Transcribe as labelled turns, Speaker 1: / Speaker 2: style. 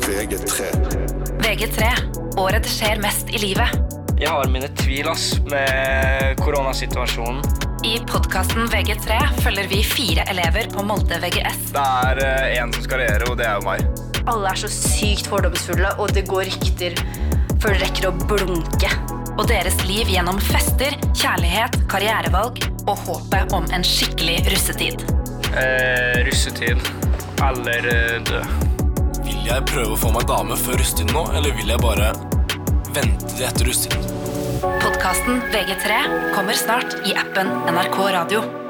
Speaker 1: VG3.
Speaker 2: VG3. Året det skjer mest i livet.
Speaker 3: Jeg har mine tvil ass, med koronasituasjonen.
Speaker 2: I podkasten VG3 følger vi fire elever på Molde VGS.
Speaker 3: Det er én som skal regjere, og det er jo meg.
Speaker 4: Alle er så sykt fordomsfulle, og det går rykter før du rekker å blunke.
Speaker 2: Og deres liv gjennom fester, kjærlighet, karrierevalg og håpet om en skikkelig russetid.
Speaker 3: russetid Eh, eller eh, dø.
Speaker 5: Vil jeg prøve å få meg dame før russetiden nå, eller vil jeg bare vente til etter russetiden?
Speaker 2: Podkasten VG3 kommer snart i appen NRK Radio.